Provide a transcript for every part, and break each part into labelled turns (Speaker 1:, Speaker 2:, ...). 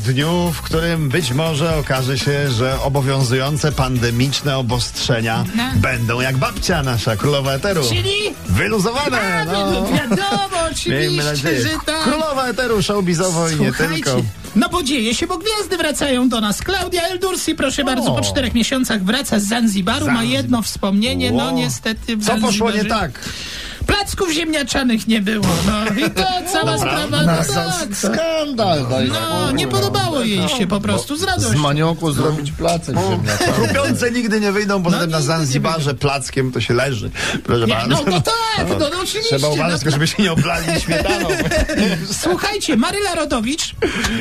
Speaker 1: dniu, w którym być może okaże się, że obowiązujące pandemiczne obostrzenia
Speaker 2: No.
Speaker 1: będą jak babcia nasza, królowa eteru.
Speaker 2: Czyli?
Speaker 1: Wyluzowane!
Speaker 2: A,
Speaker 1: no.
Speaker 2: no. Wiadomo,
Speaker 1: Miejmy
Speaker 2: oczywiście,
Speaker 1: nadzieję.
Speaker 2: że tak.
Speaker 1: Królowa eteru showbizowo i nie
Speaker 2: Słuchajcie,
Speaker 1: tylko.
Speaker 2: No bo dzieje się, bo gwiazdy wracają do nas. Klaudia Eldursi, proszę bardzo, po czterech miesiącach wraca z Zanzibaru, ma
Speaker 1: Zanzibar.
Speaker 2: jedno wspomnienie, no
Speaker 1: Ło.
Speaker 2: niestety w
Speaker 1: Co poszło nie
Speaker 2: Zanzibarze
Speaker 1: tak?
Speaker 2: Placków ziemniaczanych nie było, no i to cała sprawa, no tak.
Speaker 3: Skandal, daj
Speaker 2: No, nie podobało jej się
Speaker 1: No,
Speaker 2: po prostu, z
Speaker 3: Z
Speaker 2: radością.
Speaker 3: manioku zrobić placek ziemniaczany.
Speaker 1: Chrupiące nigdy nie wyjdą, bo potem na
Speaker 2: No nigdy nie
Speaker 1: Zanzibarze plackiem to się leży. Proszę
Speaker 2: Nie,
Speaker 1: bardzo.
Speaker 2: no, no tak, no, no oczywiście.
Speaker 1: Trzeba
Speaker 2: no,
Speaker 1: uważać, tylko żeby się nie oblali śmietaną.
Speaker 2: Słuchajcie, Maryla Rodowicz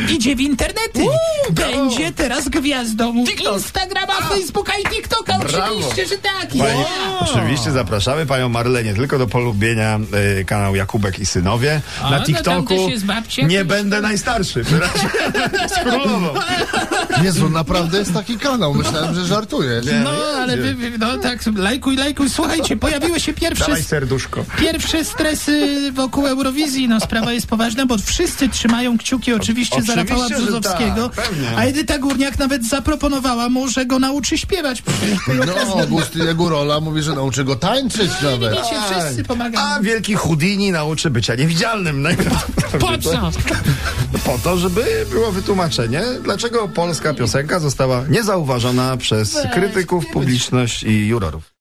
Speaker 2: idzie w internety. Będzie teraz gwiazdą Instagrama, Facebooka i TikToka. Oczywiście, że tak.
Speaker 1: Pani,
Speaker 2: Yeah.
Speaker 1: oczywiście zapraszamy panią Marlę nie tylko do polubienia y, kanału Jakubek i Synowie
Speaker 2: A,
Speaker 1: na
Speaker 2: no tam
Speaker 1: TikToku.
Speaker 2: też jest babcia,
Speaker 1: nie
Speaker 2: też-
Speaker 1: będę najstarszy. przepraszam. Z królową.
Speaker 3: Jezu, naprawdę jest taki kanał. Myślałem, że żartujesz.
Speaker 1: Nie,
Speaker 2: No, ale wy, wy, no tak, lajkuj, lajkuj. Słuchajcie, pojawiły się pierwsze,
Speaker 1: Dawaj serduszko.
Speaker 2: pierwsze stresy wokół Eurowizji. No, sprawa jest poważna, bo wszyscy trzymają kciuki oczywiście, za
Speaker 1: Oczywiście,
Speaker 2: Rafała
Speaker 1: że tak,
Speaker 2: Brzozowskiego.
Speaker 1: pewnie.
Speaker 2: a Edyta Górniak nawet zaproponowała mu, że go nauczy śpiewać.
Speaker 3: No, August jego rola mówi, że nauczy go tańczyć nawet.
Speaker 2: Widzicie, wszyscy pomagają.
Speaker 1: A wielki Houdini nauczy bycia niewidzialnym.
Speaker 2: Po
Speaker 1: najprawdopodobniej.
Speaker 2: co?
Speaker 1: Po to, żeby było wytłumaczenie, dlaczego polska piosenka została niezauważona przez krytyków, publiczność i jurorów.